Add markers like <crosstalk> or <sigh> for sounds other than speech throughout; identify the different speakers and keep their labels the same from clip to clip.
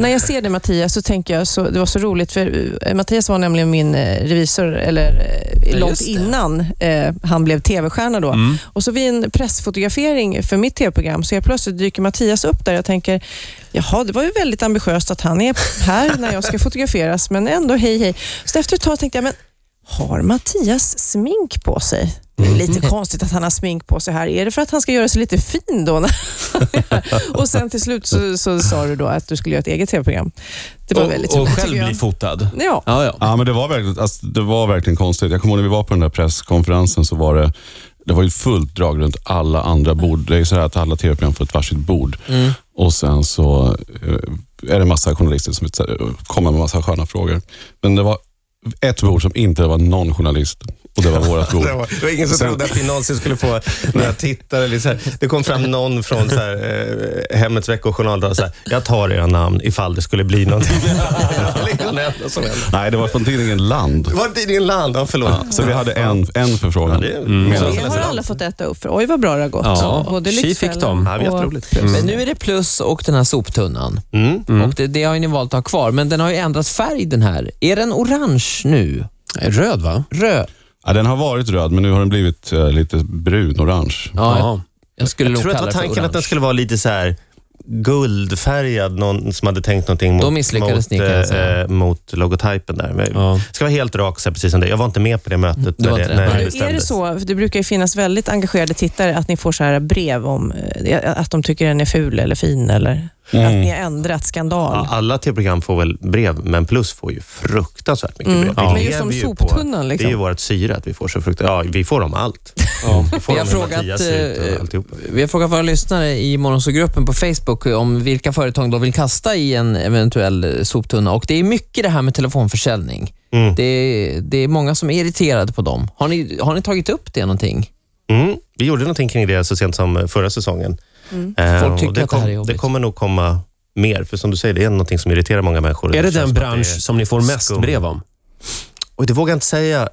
Speaker 1: När jag ser dig Mattias så tänker jag, så, det var så roligt för eh, Mattias var nämligen min eh, revisor eller eh,
Speaker 2: Ja,
Speaker 1: långt
Speaker 2: just det.
Speaker 1: innan eh, han blev tv-stjärna då.
Speaker 3: Mm.
Speaker 1: Och så vid en pressfotografering för mitt tv-program så jag plötsligt dyker Mattias upp där. Jag tänker, jaha, det var ju väldigt ambitiöst att han är här när jag ska fotograferas, men ändå hej hej. Så efter ett tag tänkte jag, men har Mattias smink på sig? Det är
Speaker 2: Mm. <laughs>
Speaker 1: lite konstigt att han har smink på sig här. Är det för att han ska göra sig lite fin då? <laughs> när han är här? och sen till slut så, så sa du då att du skulle göra ett eget tv-program. Det var
Speaker 2: Och-
Speaker 1: väldigt
Speaker 3: Och
Speaker 1: roligt
Speaker 3: själv
Speaker 1: tycker
Speaker 3: bli
Speaker 1: jag.
Speaker 3: fotad.
Speaker 1: Ja,
Speaker 2: Ja, ja.
Speaker 4: Ja, men det var, verkligen, alltså, det var verkligen konstigt. Jag kommer ihåg när vi var på den där presskonferensen så var det det var ju fullt drag runt alla andra bord. Det är ju så här att alla tv-program får ett varsitt bord.
Speaker 2: Mm.
Speaker 4: Och sen så eh, är det massa journalister som ut- kommer med massa sköna frågor. Men det var ett bord som inte var någon journalist och det var vårt bord.
Speaker 5: <laughs> Det var, det var ingen som
Speaker 4: Sen-
Speaker 5: trodde att vi någonsin skulle få några tittare. Eller så här. Det kom fram någon från så här, eh, Hemmets veckojournal och så här, jag tar era namn ifall det skulle bli <laughs> någonting. det var liksom det enda som hände.
Speaker 4: Nej, det var från tidningen Land.
Speaker 5: Var tidningen Land? Ja, Mm. förlåt.
Speaker 4: Så vi hade en, en förfrågan.
Speaker 5: det är-
Speaker 4: Medan-
Speaker 1: det har alla fått äta upp för. Oj, vad bra det har gått.
Speaker 2: Ja, tji fick
Speaker 1: Lyxfällan
Speaker 2: de.
Speaker 5: Ja, det var
Speaker 1: och-
Speaker 5: jätteroligt.
Speaker 2: Men nu är det plus och den här soptunnan.
Speaker 5: Mm.
Speaker 2: Och det, det har ju ni valt att ha kvar, men den har ju ändrat färg den här. Är den orange nu?
Speaker 5: Eh,
Speaker 6: Röd va?
Speaker 2: Röd?
Speaker 4: Ja, den har varit röd, men nu har den blivit eh, lite brun-orange.
Speaker 2: Ja,
Speaker 6: Ja.
Speaker 2: jag skulle
Speaker 5: Jag
Speaker 2: nog
Speaker 5: tror att det var
Speaker 2: kalla det för
Speaker 5: tanken att den
Speaker 2: orange.
Speaker 5: skulle vara lite så här guldfärgad, någon som hade tänkt någonting mot,
Speaker 2: Då misslyckades
Speaker 5: mot,
Speaker 2: ni, kan jag säga.
Speaker 5: eh, mot logotypen där. Men
Speaker 6: Ja.
Speaker 5: Ska vara helt rak, så här, precis som det. Jag var inte med på det mötet
Speaker 2: Mm. Du
Speaker 5: när
Speaker 2: var
Speaker 5: det,
Speaker 2: inte det?
Speaker 5: när det
Speaker 2: Nej.
Speaker 1: Är det
Speaker 5: bestämdes.
Speaker 1: så, för det brukar ju finnas väldigt engagerade tittare, att ni får så här brev om eh, att de tycker den är ful eller fin eller att
Speaker 2: Mm.
Speaker 1: ni har ändrat skandal.
Speaker 5: Ja, alla tv-program får väl brev, men Plus får ju fruktansvärt mycket
Speaker 1: Mm.
Speaker 5: brev.
Speaker 1: Men
Speaker 5: Vi
Speaker 1: just som
Speaker 5: lever ju
Speaker 1: soptunnan,
Speaker 5: På,
Speaker 1: liksom.
Speaker 5: Det är ju vårt syre att vi får så fruktansvärt... Ja, vi får dem allt. <laughs> Vi får
Speaker 2: Vi har
Speaker 5: dem hur
Speaker 2: frågat,
Speaker 5: Mattias ser ut och
Speaker 2: eh,
Speaker 5: alltihop.
Speaker 2: Vi har frågat våra lyssnare i morgonsågruppen på Facebook om vilka företag de vill kasta i en eventuell eh, soptunna. Och det är mycket det här med telefonförsäljning.
Speaker 5: Mm.
Speaker 2: Det, är, det är många som är irriterade på dem. Har ni, har ni tagit upp det någonting?
Speaker 5: Mm. Vi gjorde någonting kring det så sent som förra säsongen. Eh,
Speaker 2: Mm. Folk
Speaker 5: och
Speaker 2: tycker
Speaker 5: det,
Speaker 2: att det här är jobbigt.
Speaker 5: det kommer nog komma mer, för som du säger, det är någonting som irriterar många människor.
Speaker 6: Är det
Speaker 5: känns
Speaker 6: den
Speaker 5: som att
Speaker 6: bransch
Speaker 5: är-
Speaker 6: som ni får mest
Speaker 5: skum.
Speaker 6: brev om?
Speaker 5: Oj, det vågar jag inte säga.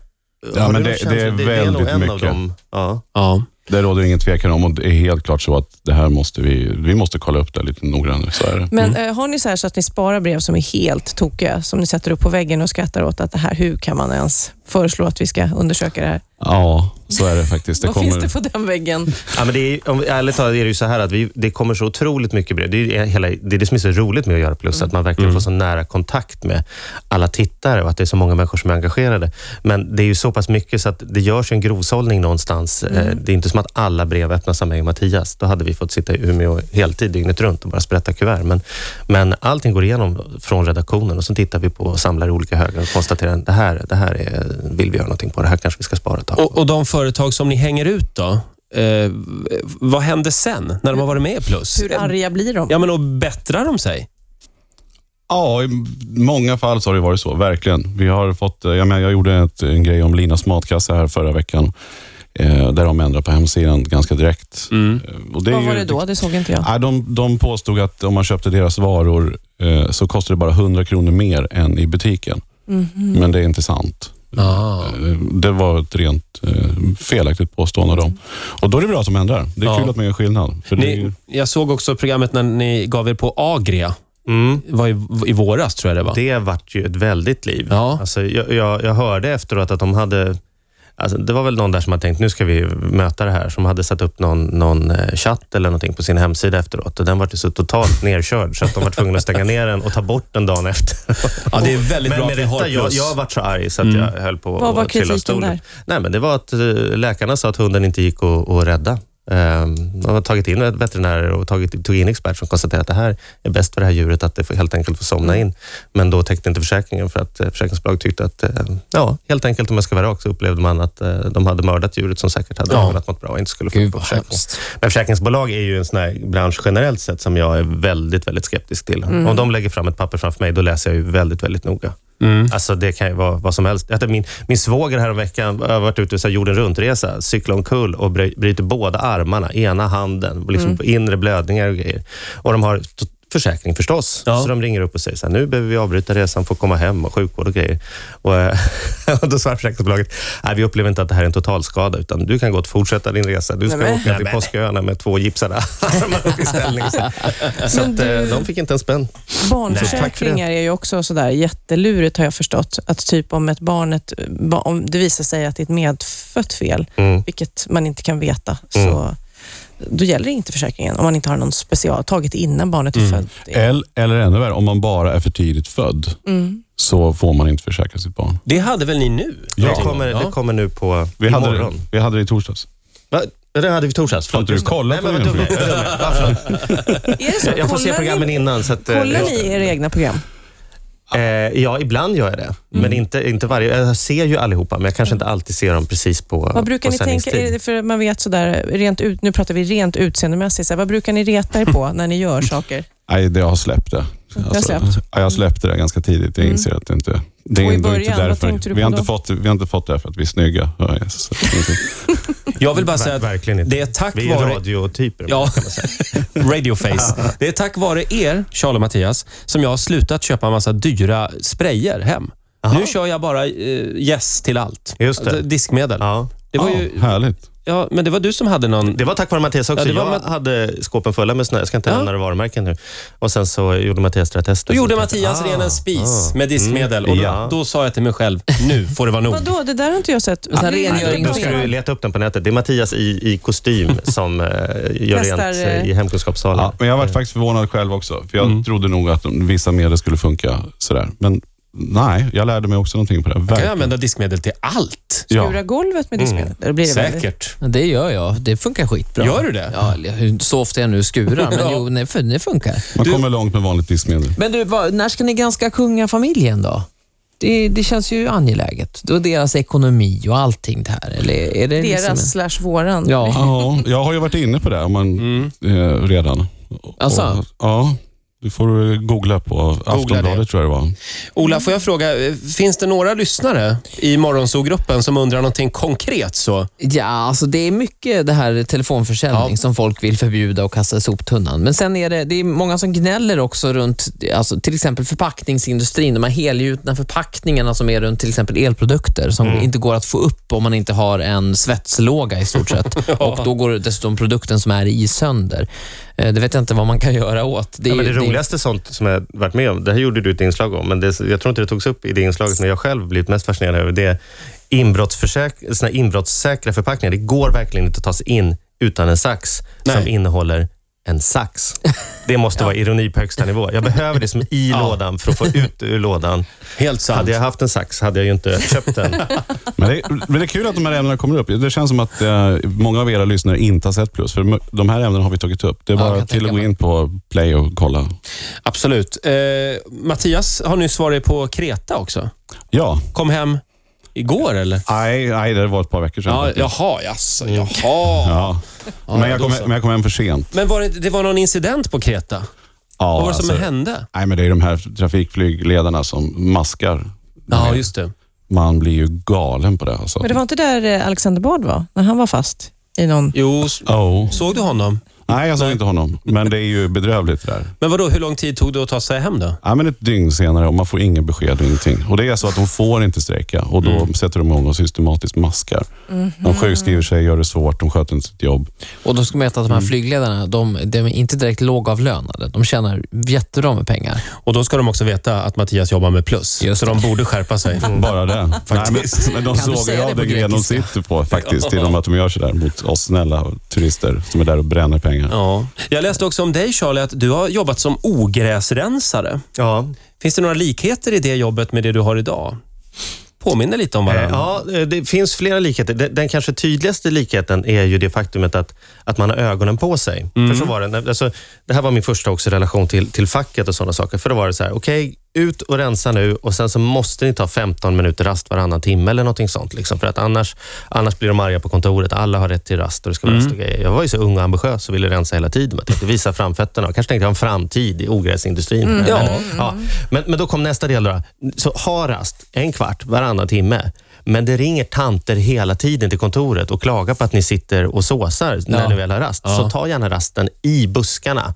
Speaker 4: Ja,
Speaker 5: Har
Speaker 4: men
Speaker 5: du
Speaker 4: det-
Speaker 5: någon känsla?
Speaker 4: det är
Speaker 5: nog
Speaker 4: väldigt
Speaker 5: en Av
Speaker 4: mycket.
Speaker 5: dem. Ja.
Speaker 6: Ja.
Speaker 4: Det råder ingen tvekan om och det är helt klart så att det här måste vi, vi måste kolla upp det lite noggrannare. Så är det.
Speaker 1: Men
Speaker 5: Mm.
Speaker 1: eh, har ni så här så att ni sparar brev som är helt tokiga, som ni sätter upp på väggen och skrattar åt att det här, hur kan man ens föreslå att vi ska undersöka det här?
Speaker 4: Ja, så är det faktiskt. Det
Speaker 1: Vad
Speaker 4: kommer,
Speaker 1: finns det på den väggen?
Speaker 5: Ja, men det är, om, ärligt talat är det ju så här att vi, det kommer så otroligt mycket brev. Det är, ju hela, det är det som är så roligt med att göra Plus, att man verkligen får så nära kontakt med alla tittare och att det är så många människor som är engagerade. Men det är ju så pass mycket så att det görs ju en grovsållning någonstans. Eh, Det är inte som att alla brev öppnas av mig och Mattias. Då hade vi fått sitta i Umeå heltid dygnet runt och bara sprätta kuvert. Men, men allting går igenom från redaktionen och så tittar vi på och samlar i olika högar och konstaterar att det här, det här är, vill vi göra någonting på. Det här kanske vi ska spara ett tag. på.
Speaker 6: Och, och de företag som ni hänger ut då? Eh, vad händer sen, när de har varit med i Plus?
Speaker 1: Hur arga blir de?
Speaker 6: Ja, men och bättrar de sig?
Speaker 4: Ja, i många fall så har det varit så, verkligen. Vi har fått, eh, jag, menar, jag gjorde ett, en grej om Linas matkasse här förra veckan, eh, där de ändrade på hemsidan ganska direkt.
Speaker 5: Mm.
Speaker 4: Eh, Och det är
Speaker 1: Vad var
Speaker 4: ju-
Speaker 1: det då? Det såg inte jag.
Speaker 4: Ja, de, de påstod att om man köpte deras varor eh, så kostade det bara 100 kronor mer än i butiken.
Speaker 1: Mm.
Speaker 5: Mm.
Speaker 4: Men det är inte sant.
Speaker 2: Ah.
Speaker 4: Eh, Det var ett rent eh, felaktigt påstående av dem. Och då är det bra att de ändrar. Det är
Speaker 6: Ja.
Speaker 4: kul att man gör skillnad. För det är
Speaker 6: Ni,
Speaker 4: ju,
Speaker 6: jag såg också programmet när ni gav er på Agria.
Speaker 5: Mm.
Speaker 6: Det var i, i våras, tror jag det var.
Speaker 5: Det vart ju ett väldigt liv.
Speaker 6: Ja.
Speaker 5: Alltså, jag, jag, jag hörde efteråt att de hade... Alltså, det var väl någon där som hade tänkt, nu ska vi möta det här, som hade satt upp någon, någon eh, chatt eller någonting på sin hemsida efteråt. Och den var ju så totalt <laughs> nerkörd, så att de var tvungna att stänga ner den och ta bort den dagen efter.
Speaker 6: Ja, det är väldigt
Speaker 5: Men
Speaker 6: bra
Speaker 5: med
Speaker 6: att vi har
Speaker 5: rätta, jag,
Speaker 6: Plus. Mm.
Speaker 5: jag vart så arg så att jag höll på
Speaker 1: Vad var
Speaker 5: att trilla av
Speaker 1: kritiken
Speaker 5: stolen.
Speaker 1: där?
Speaker 5: Nej, men det var att eh, läkarna sa att hunden inte gick att, att rädda. Ehm, De har tagit in veterinärer och tagit, tog in expert som konstaterade att det här är bäst för det här djuret, att det får helt enkelt får
Speaker 1: Mm.
Speaker 5: somna in. Men då täckte inte försäkringen för att eh, försäkringsbolag tyckte att, eh, ja, helt enkelt om jag ska vara rak så upplevde man att eh, de hade mördat djuret som säkert hade
Speaker 6: Ja.
Speaker 5: överlevt något bra och inte skulle få
Speaker 2: Gud,
Speaker 5: på
Speaker 2: vad
Speaker 5: försäkringen.
Speaker 2: hemskt.
Speaker 5: Men försäkringsbolag är ju en sån här bransch generellt sett som jag är väldigt, väldigt skeptisk till. Om de lägger fram ett papper framför mig, då läser jag ju väldigt, väldigt noga. Alltså det kan ju vara vad som helst. Jag hade min, min svåger häromveckan har varit ute och så här jorden runt-resa, cyklade omkull och bry- bryter båda armarna, ena handen, och liksom inre blödningar och grejer. Och de har t- försäkring förstås.
Speaker 6: Ja.
Speaker 5: Så de ringer upp och säger så här, nu behöver vi avbryta resan, får komma hem och sjukvård och grejer. Och, eh, <laughs> och då svarar försäkringsbolaget, nej vi upplever inte att det här är en totalskada, utan du kan gott fortsätta din resa. Du ska
Speaker 1: Nej, men.
Speaker 5: åka till Påsköarna med två gipsade armar upp i ställning. Så, <laughs> så att, eh,
Speaker 1: du-
Speaker 5: de fick inte en spänn. Nej, tack för
Speaker 1: Barnförsäkringar är ju också sådär jättelurigt har jag förstått. Att typ om ett barn, ett, ba- om det visar sig att det är ett medfött fel,
Speaker 5: Mm.
Speaker 1: vilket man inte kan veta,
Speaker 5: Mm.
Speaker 1: så då gäller inte försäkringen om man inte har någon special tagit innan barnet är
Speaker 5: Mm.
Speaker 1: fött.
Speaker 5: Eh,
Speaker 4: Eller, eller ännu värre, om man bara är för tidigt född
Speaker 1: Mm.
Speaker 4: så får man inte försäkra sitt barn.
Speaker 6: Det hade väl ni nu?
Speaker 5: Det, kommer, det kommer nu på
Speaker 4: Vi hade, det,
Speaker 5: imorgon.
Speaker 4: vi hade det i torsdags.
Speaker 5: Va? Ja, Det hade vi i torsdags.
Speaker 4: Har inte du
Speaker 5: Just det.
Speaker 4: kollat
Speaker 5: Nej,
Speaker 4: på
Speaker 5: men vad
Speaker 4: det?
Speaker 5: dum jag är. Jag är dum. Ja, förlåt.
Speaker 1: Är det så?
Speaker 5: Jag får se
Speaker 1: Kollar
Speaker 5: programmen
Speaker 1: ni,
Speaker 5: innan. Så att, eh,
Speaker 1: Kollar
Speaker 5: just
Speaker 1: ni
Speaker 5: det.
Speaker 1: era egna program?
Speaker 5: Eh, ja, ibland gör jag
Speaker 1: Mm.
Speaker 5: det. Men inte, inte varje. Jag ser ju allihopa, men jag kanske inte alltid ser dem precis på
Speaker 1: Vad brukar
Speaker 5: på
Speaker 1: ni tänka,
Speaker 5: sändningstid.
Speaker 1: är det för man vet sådär, rent ut, nu pratar vi rent utseendemässigt, såhär, vad brukar ni reta er
Speaker 5: <laughs>
Speaker 1: på när ni gör saker?
Speaker 5: Oh.
Speaker 4: Nej, det jag har släppt det. Alltså,
Speaker 1: har släppt. Mm.
Speaker 4: ja, jag släppte det ganska tidigt. Jag inser att det inte... Det
Speaker 1: Och i
Speaker 4: är ändå
Speaker 1: början, vad tänkte du
Speaker 4: vi,
Speaker 1: på
Speaker 4: har inte
Speaker 1: då?
Speaker 4: fått, vi har inte fått det här för att vi är snygga. Ja, yes, så det finns inte-
Speaker 6: Jag vill bara säga
Speaker 5: Ver-
Speaker 6: att
Speaker 5: verkligen inte.
Speaker 6: det är tack
Speaker 5: Vi är
Speaker 6: vare...
Speaker 5: radiotyper.
Speaker 6: Ja, <laughs> radioface. Det är tack vare er, Charles och Mattias, som jag har slutat köpa en massa dyra sprayer hem. Nu kör jag bara eh, yes till allt. Alltså,
Speaker 5: Just det.
Speaker 6: diskmedel.
Speaker 5: Ja.
Speaker 6: Det var ju,
Speaker 4: Ja, härligt.
Speaker 6: ja, men det var du som hade någon...
Speaker 5: Det var tack vare Mattias också.
Speaker 6: Ja, det var
Speaker 5: jag
Speaker 6: Matt-
Speaker 5: hade skåpen fulla med snö. Jag ska inte
Speaker 6: Ja.
Speaker 5: nämna det varumärken nu. Och Sen så gjorde Mattias det här testet.
Speaker 6: Då gjorde
Speaker 5: Så tänkte jag,
Speaker 6: Mattias ren en spis
Speaker 5: ah.
Speaker 6: med diskmedel och då,
Speaker 5: Ja.
Speaker 6: då sa jag till mig själv, nu får det vara nog.
Speaker 1: Vadå, det där har inte jag sett.
Speaker 2: Men sen
Speaker 1: Det är
Speaker 2: rengöring
Speaker 1: inte
Speaker 2: och
Speaker 5: Då
Speaker 1: bra.
Speaker 5: ska du leta upp den på nätet. Det är Mattias i, i
Speaker 6: <laughs>
Speaker 5: kostym som eh, gör
Speaker 1: Testar,
Speaker 5: rent eh, i
Speaker 1: eh,
Speaker 5: hemkunskapssalen.
Speaker 4: Ja, men jag varit faktiskt förvånad själv också. För Jag trodde nog att de- vissa medel skulle funka sådär. Men nej, jag lärde mig också någonting på det.
Speaker 6: Kan jag
Speaker 4: Verkligen.
Speaker 6: använda diskmedel till allt?
Speaker 1: Skura golvet med diskmedel?
Speaker 5: Mm.
Speaker 1: Då blir det väldigt-
Speaker 6: Säkert.
Speaker 2: Men Det gör jag. Det funkar skitbra.
Speaker 6: Gör du det?
Speaker 2: Ja, eller hur- så ofta jag nu skurar,
Speaker 6: <laughs>
Speaker 2: men
Speaker 6: Ja.
Speaker 2: jo, nej, för, det funkar.
Speaker 4: Man kommer långt med vanligt diskmedel.
Speaker 2: Men du, vad, när ska ni granska kungafamiljen då? Det, det känns ju angeläget. Då deras ekonomi och allting det här. Eller är det liksom en-
Speaker 1: Deras slash våran.
Speaker 2: Ja.
Speaker 4: Ja, jag har ju varit inne på det om man, eh, redan.
Speaker 2: Alltså?
Speaker 4: Och, ja, du får eh, googla på Aftonbladet
Speaker 6: det.
Speaker 4: tror jag det var.
Speaker 6: Ola, får jag fråga, eh, finns det några lyssnare i Morgonzoo-gruppen som undrar någonting konkret? så?
Speaker 2: ja, alltså det är mycket det här telefonförsäljning
Speaker 6: Ja.
Speaker 2: som folk vill förbjuda och kasta i soptunnan. Men sen är det, det är många som gnäller också runt alltså, till exempel förpackningsindustrin. De här helgjutna förpackningarna som är runt till exempel elprodukter som
Speaker 5: Mm.
Speaker 2: inte går att få upp om man inte har en svetslåga i
Speaker 5: <laughs>
Speaker 2: stort sett. Och då går dessutom produkten som är i sönder. Eh, Det vet jag inte vad man kan göra åt. Det,
Speaker 5: Ja,
Speaker 2: är
Speaker 5: men det
Speaker 2: ju- är-
Speaker 5: roligaste sånt som jag varit med om, det här gjorde du ett inslag om, men det, jag tror inte det togs upp i det inslaget, men jag själv blivit mest fascinerad över det. är Inbrottsförsäk- såna här inbrottssäkra förpackningar, det går verkligen inte att ta sig in utan en sax som
Speaker 6: Nej.
Speaker 5: innehåller en sax. Det måste vara ironi på högsta nivå. Jag behöver det som i lådan för att få ut det ur lådan.
Speaker 6: Helt sant.
Speaker 5: Hade jag haft en sax hade jag ju inte köpt den.
Speaker 4: Men det, men det är kul att de här ämnena kommer upp. Det känns som att eh, många av era lyssnare inte har sett plus. För de- de här ämnena har vi tagit upp. Det är
Speaker 2: Ja,
Speaker 4: bara
Speaker 2: jag kan
Speaker 4: till att
Speaker 2: tänka
Speaker 4: gå
Speaker 2: mig.
Speaker 4: in på play och kolla.
Speaker 6: Absolut. Eh, Mattias har nyss varit på Kreta också.
Speaker 4: Ja,
Speaker 6: Kom hem igår, eller? Mm.
Speaker 4: nej, nej det var ett par veckor sedan.
Speaker 6: Ja,
Speaker 4: faktiskt.
Speaker 6: jaha, jaså, jaha.
Speaker 4: Ja. Men, jag
Speaker 6: då
Speaker 4: kom,
Speaker 6: så.
Speaker 4: men jag kom hem för sent.
Speaker 6: Men var det, det var någon incident på Kreta?
Speaker 4: Ja,
Speaker 6: Vad var det som
Speaker 4: alltså,
Speaker 6: hände?
Speaker 4: nej, men det är de här trafikflygledarna som maskar.
Speaker 6: Ja, just det.
Speaker 4: Man blir ju galen på det. Alltså.
Speaker 1: Men det var inte där eh, Alexander Bard var, när han var fast i någon...
Speaker 6: Jo, s-
Speaker 4: oh.
Speaker 6: såg du honom?
Speaker 4: Nej, jag såg inte honom. Men det är ju bedrövligt det där.
Speaker 6: Men vadå, hur lång tid tog det att ta sig hem då?
Speaker 4: Ja, men ett dygn senare och man får inga besked och ingenting. Och det är så att de får inte strejka och då sätter de igång och systematiskt maskar.
Speaker 1: Mhm.
Speaker 4: De sjukskriver sig, gör det svårt, de sköter inte sitt jobb.
Speaker 2: Och då ska man veta att de här
Speaker 5: Mm.
Speaker 2: flygledarna, de, de är inte direkt lågavlönade. De tjänar jättebra med pengar.
Speaker 6: Och då ska de också veta att Mattias jobbar med plus,
Speaker 2: Just
Speaker 6: så de borde skärpa sig.
Speaker 4: Bara det.
Speaker 6: Faktiskt.
Speaker 4: Mm. Nej, men, men de
Speaker 2: Kan du
Speaker 4: sågar
Speaker 2: säga
Speaker 4: ju
Speaker 2: det
Speaker 4: av
Speaker 2: på
Speaker 4: den gren de
Speaker 2: grekiska?
Speaker 4: sitter på faktiskt, till och med att de gör sådär mot oss snälla turister som är där och bränner pengar.
Speaker 6: Ja. Jag läste också om dig Charlie, att du har jobbat som ogräsrensare.
Speaker 5: Ja,
Speaker 6: Finns det några likheter i det jobbet med det du har idag? Påminner lite om varandra.
Speaker 5: Eh, Ja, det finns flera likheter. Den, den kanske tydligaste likheten är ju det faktumet att, att man har ögonen på sig. För så var det. när- Alltså, det här var min första också relation till, till facket och sådana saker. För då var det så här, okej, ut och rensa nu och sen så måste ni ta 15 minuter rast varannan timme eller någonting sånt. Liksom, för att annars, annars blir de arga på kontoret. Alla har rätt till rast och det ska vara rast och grejer. Jag var ju så ung och ambitiös och ville rensa hela tiden. Jag tänkte visa framfötterna. Jag kanske tänkte ha en framtid i ogräsindustrin.
Speaker 6: Ja.
Speaker 5: Eller- Ja, men, men då kom nästa del. Då. Så ha rast en kvart varannan timme. Men det ringer tanter hela tiden till kontoret och klagar på att ni sitter och såsar när
Speaker 2: Ja.
Speaker 5: ni väl har rast. Så ta gärna rasten i buskarna.